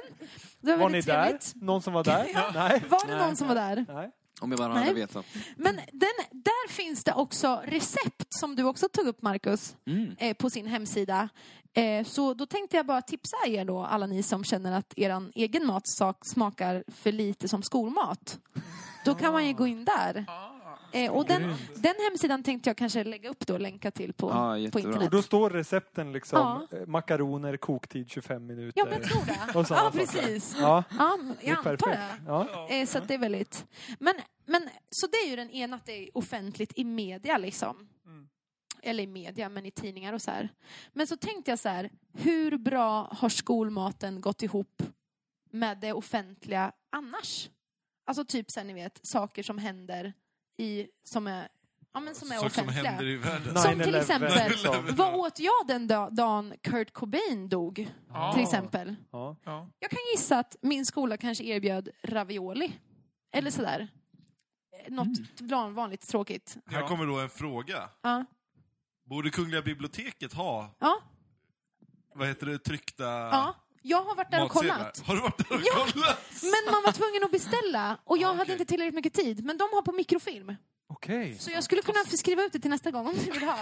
Det var, Var ni väldigt där? trevligt. Någon som var där? Nej. Var det någon som var där? Nej. Om jag bara hade Nej. vetat. Men den, där finns det också recept som du också tog upp Marcus, Mm. eh, på sin hemsida. Eh, så då tänkte jag bara tipsa er då, alla ni som känner att er egen mat sak- smakar för lite som skolmat. Då kan man ju gå in där. Eh, och den, den hemsidan tänkte jag kanske lägga upp då, länka till på, Ja, på jättebra. Och internet. då står recepten liksom eh, makaroner, koktid 25 minuter. Ja, men jag tror det. Och sådana ja, saker. precis. Ja, Ja, det är jag antar det. perfekt. Ja. Eh, så att det är väldigt... Men, men, så det är ju den ena, att det är offentligt i media liksom. Eller i media, men i tidningar och så här. Men så tänkte jag så här, hur bra har skolmaten gått ihop med det offentliga annars? Alltså typ sen ni vet, saker som händer i, som är, ja, men som är Saker som offentliga. händer i världen. Som till 9-11, exempel- liksom. Vad åt jag den da- dagen Kurt Cobain dog, Ja. till exempel? Ja. Ja. Jag kan gissa att min skola kanske erbjöd ravioli. Eller sådär. Eh, Något mm. vanligt tråkigt. Här kommer då en fråga. Ja. Borde Kungliga biblioteket ha, Ja. vad heter det, tryckta ja. Jag har varit där och matsedlar? kollat. Har du varit där och Ja. kollat? Men man var tvungen att beställa och jag Ja, hade okej. inte tillräckligt mycket tid. Men de har på mikrofilm. Okej. Så jag skulle kunna skriva ut det till nästa gång om ni vill ha.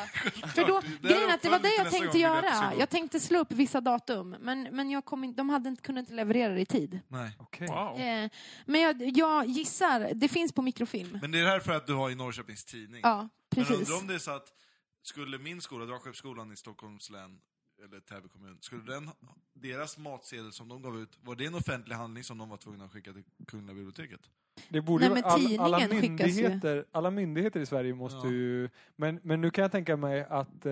För då, Det där grejen är att det var det uppföljning till jag nästa tänkte gång, vill jag att du göra. ska gå. Jag tänkte slå upp vissa datum. Men, men jag kom in, de hade inte, kunde inte leverera det i tid. Nej. Okej. Wow. Eh, men jag, jag gissar, det finns på mikrofilm. Men det är det här för att du har i Norrköpings tidning. Ja, Men precis. undrar om det är så att, skulle min skola, Dragskeppsskolan i Stockholms län, eller Täby kommun, skulle den, deras matsedel som de gav ut, var det en offentlig handling som de var tvungna att skicka till Kungliga biblioteket? Det borde Nej, ju- men all, alla, tidningen skickas ju. myndigheter, alla myndigheter i Sverige måste Ja. ju... Men, men nu kan jag tänka mig att eh,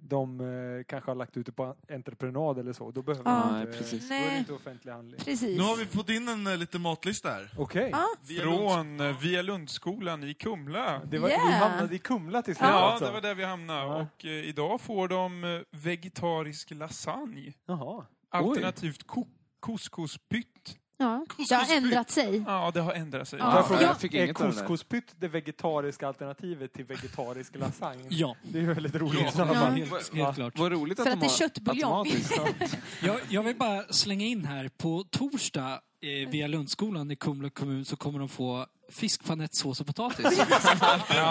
de eh, kanske har lagt ut det på entreprenad eller så. Då behöver Ja. man Nej, inte... precis. Då är det Nej, inte offentlig handling. precis. Nu har vi fått in en eh, liten matlista här. Okej. Ja. Via Lunds- Från eh, Via Lundskolan i Kumla. Det var, Yeah. Vi hamnade i Kumla till slut Ja, alltså. det var där vi hamnade. Ja. Och eh, idag får de eh, vegetarisk lasagne. Jaha. Alternativt ko- couscouspytt. Ja. Det har ändrat sig. Ja, det har ändrat sig. Ja. Får jag fråga, jag fick är inget av det där. couscouspytt det vegetariska alternativet till vegetarisk lasagne? Eh, Ja, Det är ju väldigt roligt Ja. i sådana Ja. fall. helt, helt klart. Vad roligt att, För att de det är har köttbuljong. automatiskt. Jag, jag vill bara slänga in här, på torsdag eh, via Lundskolan i Kumla kommun så kommer de få fiskpanettsås och potatis.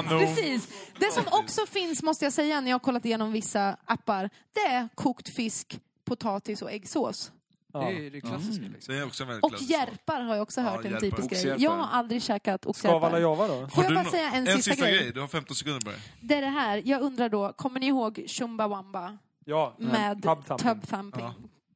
Precis. Det som också finns, måste jag säga, när jag har kollat igenom vissa appar, det är kokt fisk, potatis och äggsås. Ja. Det är det klassiska. Liksom. Det är också en väldigt Och klassisk mat. järpar har jag också Ja, hört en järpar. typisk grej. Oxjärpar. Jag har aldrig käkat Skavala oxjärpar. Java då? Får jag Har bara du nå- säga en, sista, grej? Du har 15 sekunder på dig. Det är det här, jag undrar då, kommer ni ihåg Chumbawamba Ja. med Tub thumping. tub thumping? Ja.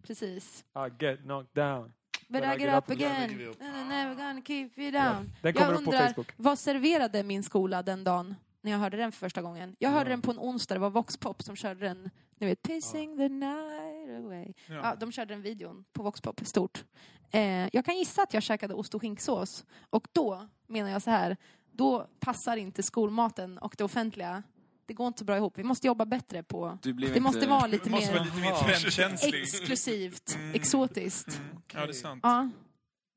Precis. I get knocked down. But When I get up again, give you up. and I'm never gonna keep you down. Den kommer Jag upp på undrar, Facebook. vad serverade min skola den dagen när jag hörde den för första gången? Jag hörde den på en onsdag, det var Vox Pop som körde den, ni vet, Pacing the night away. Ja. de körde den videon på Vox Pop, stort. Eh, jag kan gissa att jag käkade ost och skinksås. Och då, menar jag så här, då passar inte skolmaten och det offentliga, det går inte så bra ihop. Vi måste jobba bättre på... Du blev Det måste inte... vara lite Det måste vara mer lite mer trendkänslig. exklusivt, Mm. exotiskt. Mm. Ja, det är sant. Ja.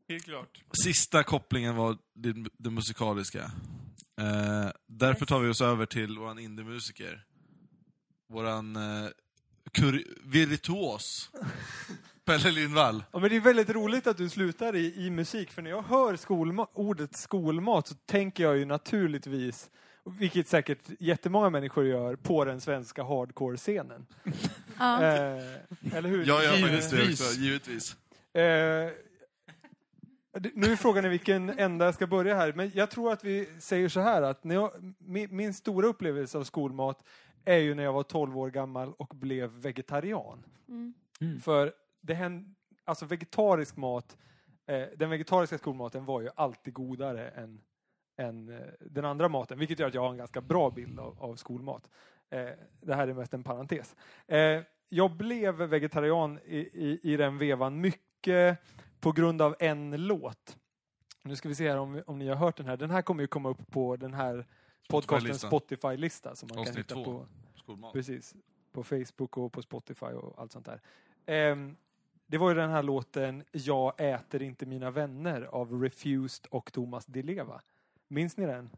Helt klart. Sista kopplingen var den, den musikaliska. Eh, därför tar vi oss över till våran indiemusiker. Våran eh, kur- virtuos. Pelle Lindvall. Ja, men det är väldigt roligt att du slutar i, i musik, för när jag hör skolma, ordet skolmat så tänker jag ju naturligtvis, vilket säkert jättemånga människor gör, på den svenska hardcore-scenen. Ja. Eh, eller hur? Jag gör faktiskt det Givetvis. också, givetvis. Eh, det- nu är frågan är vilken ända jag ska börja här, men jag tror att vi säger så här att när jag, min, min stora upplevelse av skolmat är ju när jag var 12 år gammal och blev vegetarian. Mm. Mm. För det hände, alltså vegetarisk mat, eh, den vegetariska skolmaten var ju alltid godare än, än eh, den andra maten, vilket gör att jag har en ganska bra bild av, av skolmat. Eh, det här är mest en parentes. Eh, jag blev vegetarian i, i, i den vevan mycket på grund av en låt. Nu ska vi se här om, om ni har hört den här. Den här kommer ju komma upp på den här podcastens Spotify-listan. Spotify-lista som man kan Avsnitt hitta två. på Skolmat. Precis. På Facebook och på Spotify och allt sånt där. Ehm, Det var ju den här låten Jag äter inte mina vänner av Refused och Thomas Di Leva. Minns ni den?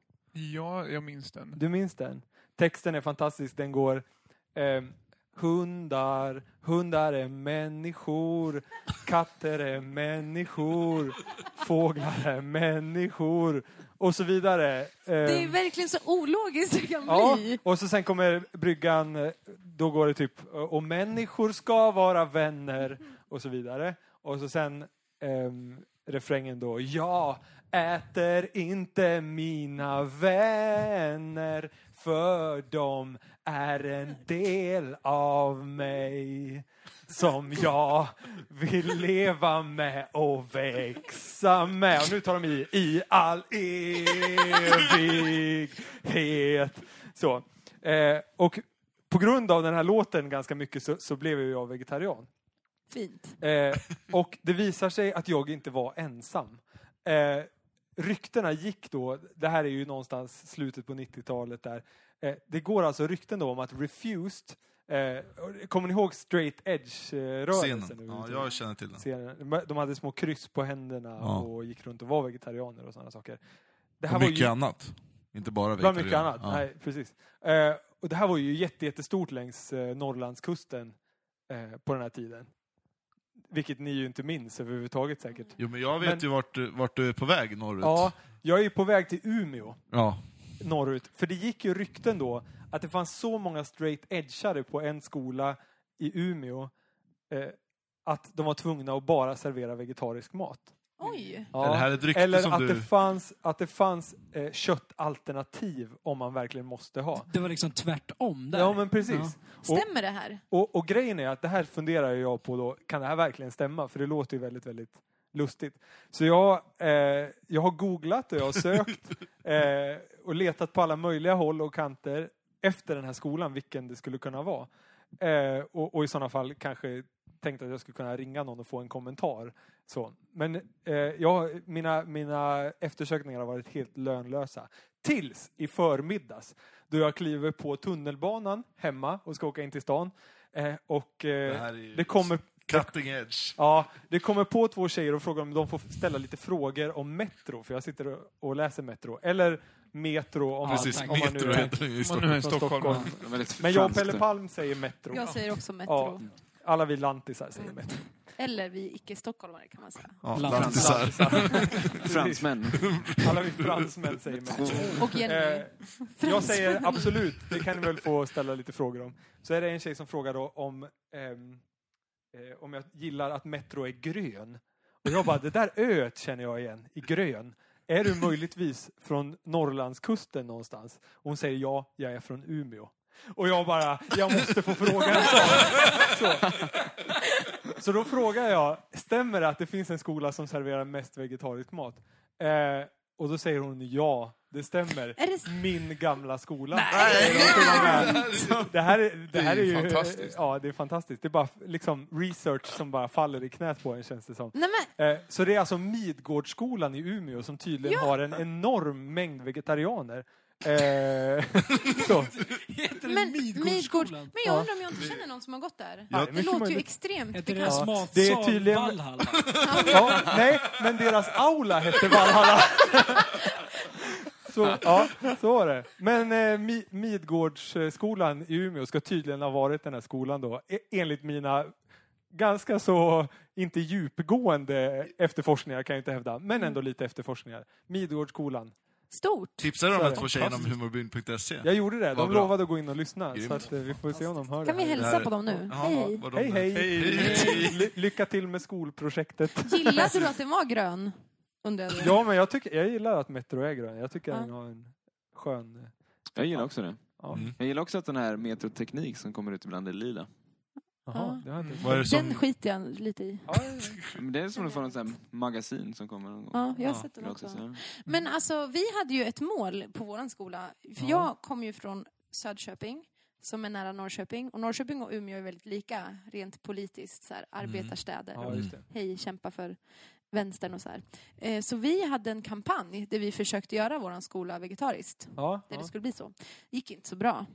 Ja, jag minns den. Du minns den? Texten är fantastisk. Den går ehm, Hundar, hundar är människor. Katter är människor. Fåglar är människor. Och så vidare. Det är Ehm, verkligen så ologiskt det kan Ja, bli. och så sen kommer bryggan, eh, då går det typ eh, och människor ska vara vänner och så vidare. Och så sen ehm, refrängen då, jag äter inte mina vänner för de är en del av mig som jag vill leva med och växa med. Och nu tar de i, i all evighet. Så. Eh, och på grund av den här låten ganska mycket så, så blev ju jag vegetarian. Fint. Eh, och det visar sig att jag inte var ensam. Eh, ryktena gick då, det här är ju någonstans slutet på 90-talet där. Eh, det går alltså rykten då om att Refused, eh, kommer ni ihåg straight edge-rörelsen? Scenen. Ja, jag känner till den. scenen. De hade små kryss på händerna Ja. och gick runt och var vegetarianer och sådana saker. Det Och var mycket ju, annat. Inte bara bland mycket vegetarianer. annat. Nej, precis. Eh, och det här var ju jätte, jättestort längs eh, Norrlandskusten eh, på den här tiden. Vilket ni ju inte minns överhuvudtaget säkert. Jo, men jag vet Men- ju vart du, vart du är på väg norrut. Ja, jag är ju på väg till Umeå Ja. norrut. För det gick ju rykten då att det fanns så många straight edgare på en skola i Umeå eh, att de var tvungna att bara servera vegetarisk mat. Oj. Ja. Det här är ett rykte Eller som att du- det fanns, att det fanns eh, köttalternativ om man verkligen måste ha. Det var liksom tvärtom där. Ja men precis. Stämmer det här? Och, och grejen är att det här funderar ju jag på då, kan det här verkligen stämma? För det låter ju väldigt, väldigt lustigt. Så jag, eh, jag har googlat och jag har sökt eh, och letat på alla möjliga håll och kanter efter den här skolan, vilken det skulle kunna vara. Eh, och, och i sådana fall kanske tänkt att jag skulle kunna ringa någon och få en kommentar. Så. Men eh, jag, mina, mina eftersökningar har varit helt lönlösa. Tills i förmiddags då jag kliver på tunnelbanan hemma och ska åka in till stan. Eh, och eh, Det det, här är ju- kommer... Cutting edge. Ja, det kommer på två tjejer och frågar om de får ställa lite frågor om Metro, för jag sitter och- och läser Metro. Eller Metro om Precis, man, om man nu Metro är heter den ju i Om man Stockholm. nu är i från Stockholm. Stockholm. Det var väldigt Men jag och franskt. Pelle Palm säger Metro. Jag säger också Ja. Metro. Alla vi lantisar säger Metro. Eller vi icke-stockholmare kan man säga. Ja, Lantisar. lantisar. Fransmän. Alla vi fransmän säger Metro. Och Jenny. Eh, jag säger absolut, det kan ni väl få ställa lite frågor om. Så är det en tjej som frågar då om, ehm, eh, om jag gillar att Metro är grön. Och jag bara, det där öet känner jag igen, i grön. Är du möjligtvis från Norrlandskusten någonstans? Och hon säger ja, jag är från Umeå. Och jag bara, jag måste få fråga en sak. Så. Så då frågar jag, stämmer det att det finns en skola som serverar mest vegetarisk mat? Eh, och då säger hon ja, det stämmer. Är det- Min gamla skola. Säger hon till och med. Det här, är- det här är Det är ju... fantastiskt. Ja, det är fantastiskt. Det är bara liksom research som bara faller i knät på en känns det som. Nej, men, Eh, Så det är alltså Midgårdsskolan i Umeå som tydligen har en enorm mängd vegetarianer. Eh, så. Heter det men, Midgård, Midgårdsskolan? men jag undrar om jag inte känner någon som har gått där. Ja, det mycket låter ju möjligt. extremt Heter det bekant. Ja, matsal det är tydligen- Valhalla? Ja, nej, men deras aula hette Valhalla. Så, ja, så var det. Men eh, Mi- Midgårdsskolan i Umeå ska tydligen ha varit den här skolan då, e- enligt mina ganska så, inte djupgående efterforskningar kan jag inte hävda, men ändå lite efterforskningar. Midgårdsskolan. Stort. Tipsar de Så är här det. två tjejerna om humorbyn.se? Jag gjorde det, Vad de bra. lovade att gå in och lyssna, så Grymt. att, eh, vi får se om de hör Kan vi det. här. Det hälsa här- på dem nu? Jaha, Hej, hej. vad de- Hej, hej. Hej. Ly- lycka till med skolprojektet. Gillade du att den var grön? Undrade jag. Ja, men jag, tycker, jag gillar att Metro är grön. Jag tycker Ja. den har en skön... Jag gillar också det. Ja. Mm. Jag gillar också att den här metroteknik som kommer ut ibland är lila. Jaha, det har jag inte Vad är det Den som... skiter jag lite i. Ja, Men det är som från ett sånt här magasin som kommer någon gång. Ja, jag har Ja, sett den också. Gratis, ja. Men alltså, vi hade ju ett mål på vår skola. För jag kom ju från Söderköping, som är nära Norrköping. Och Norrköping och Umeå är väldigt lika rent politiskt, så här, arbetarstäder. Mm. ja, Och just det. hej, kämpa för vänstern och så här. Eh, så vi hade en kampanj där vi försökte göra vår skola vegetariskt. Ja, Där ja. det skulle bli så. gick inte så bra.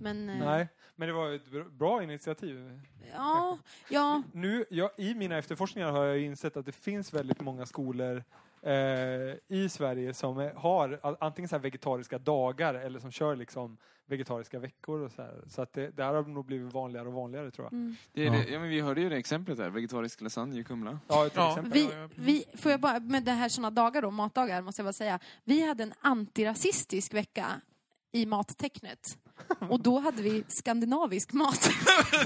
Men eh, Nej, men det var ju ett br- bra initiativ. ja, ja, Nu, jag, I mina efterforskningar har jag insett att det finns väldigt många skolor eh, i Sverige som eh, har a- antingen så här vegetariska dagar eller som kör liksom vegetariska veckor. Och så här. så att det, det här har nog blivit vanligare och vanligare tror jag. mm. Det är Ja. Det, ja, men vi hörde ju det exemplet där. Vegetarisk lasagne i Kumla. Ja, till Ja. exempel. Vi, Ja, ja, precis. vi, får jag bara, med det här såna dagar då, matdagar, måste jag bara säga. Vi hade en antirasistisk vecka i mattecknet. Och då hade vi skandinavisk mat.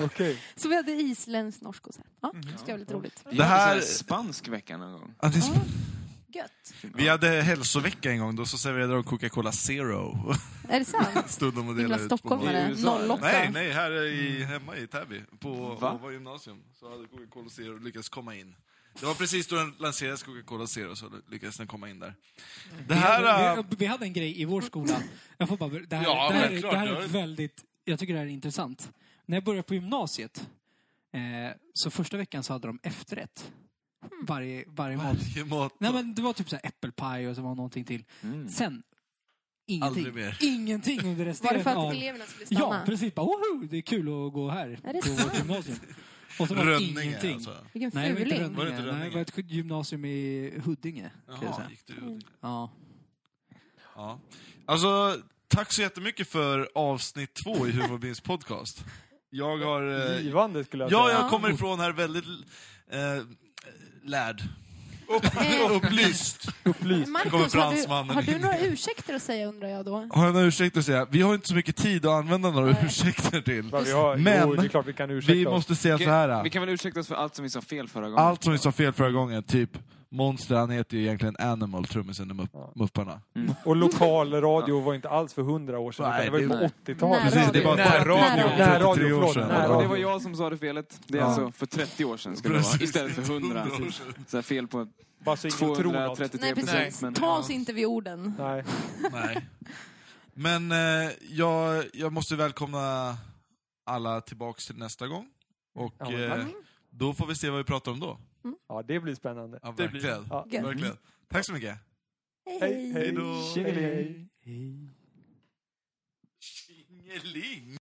Okej. Så vi hade isländsk, norsk och så här. Ja, det ska vara lite roligt. Vi Det hade här- så spansk vecka någon gång. Ja, det är Ja, gött. Vi hade hälsovecka en gång, då så serverade de Coca-Cola Zero. Är det sant? Stunden och Himla delade ut på I stockholmare. USA, eller? 08. Nej, nej, här i, hemma i Täby, på Va? Åva gymnasium, så hade Coca-Cola Zero lyckats komma in. Det var precis då den lanserades, Coca-Cola Zero, så lyckades den komma in där. Det här... vi, äh, vi, vi hade en grej i vår skola. Jag får bara, det här, Ja, det här, självklart, det här det har är du. väldigt... Jag tycker det här är intressant. När jag började på gymnasiet, eh, så första veckan så hade de efterrätt. Hmm. Varje, varje mat. Varje mat... Nej men det var typ så här äppelpaj och så var någonting till. Mm. Sen, ingenting. Mm. Aldrig mer. Ingenting under Var det för resterande att av... eleverna skulle Ja, stanna? precis. Bara, woho, det är kul att gå här. Är det på vårt sant? gymnasium. Och så var det Rönninge, ingenting. alltså. Vilken Nej, det var inte fuling. Var det Rönninge. inte Nej, det var ett gymnasium i Huddinge. kan jag Jaha, säga. gick du... Ja. Ja. Alltså, tack så jättemycket för avsnitt två i Humorbins podcast. Jag har... eh, Givande skulle jag Ja, säga. jag kommer ifrån här väldigt eh, lärd. Eh, Upplyst. Upplyst. kommer Marcus, har du, fransmannen har du in. några ursäkter att säga undrar jag då? Har jag några ursäkter att säga? Vi har inte så mycket tid att använda några Nej. ursäkter till. Vad vi har, Men- jo, det är klart vi kan ursäkta Vi oss. måste säga så här. Vi kan väl ursäkta oss för allt som vi sa fel förra gången. Allt som vi sa fel förra gången, typ Monster, han heter ju egentligen Animal, trummisen i Mupp- Ja. Mupparna. Och lokalradio var inte alls för hundra år sedan, Nej, utan det var ju det- på 80-talet. Närradio. Precis, det var Närradio. 30 Närradio, 33 år förlåt. sedan. Närradio. Och det var jag som sa det felet. Det är Ja. alltså för 30 år sedan ska det vara. Precis. Istället för 100. Så här fel på Bara så ingen tror något. 233 Nej, precis. procent. Men, Ta oss inte vid orden. Nej. Nej. Men eh, jag, jag måste välkomna alla tillbaks till nästa gång. Och Ja, eh, då får vi se vad vi pratar om då. Ja, det blir spännande. Ja, blir- verkligen. Ja. Gött. verkligen. Tack så mycket. Hej, hej. Hej då. Hej, hej. Tjingeling!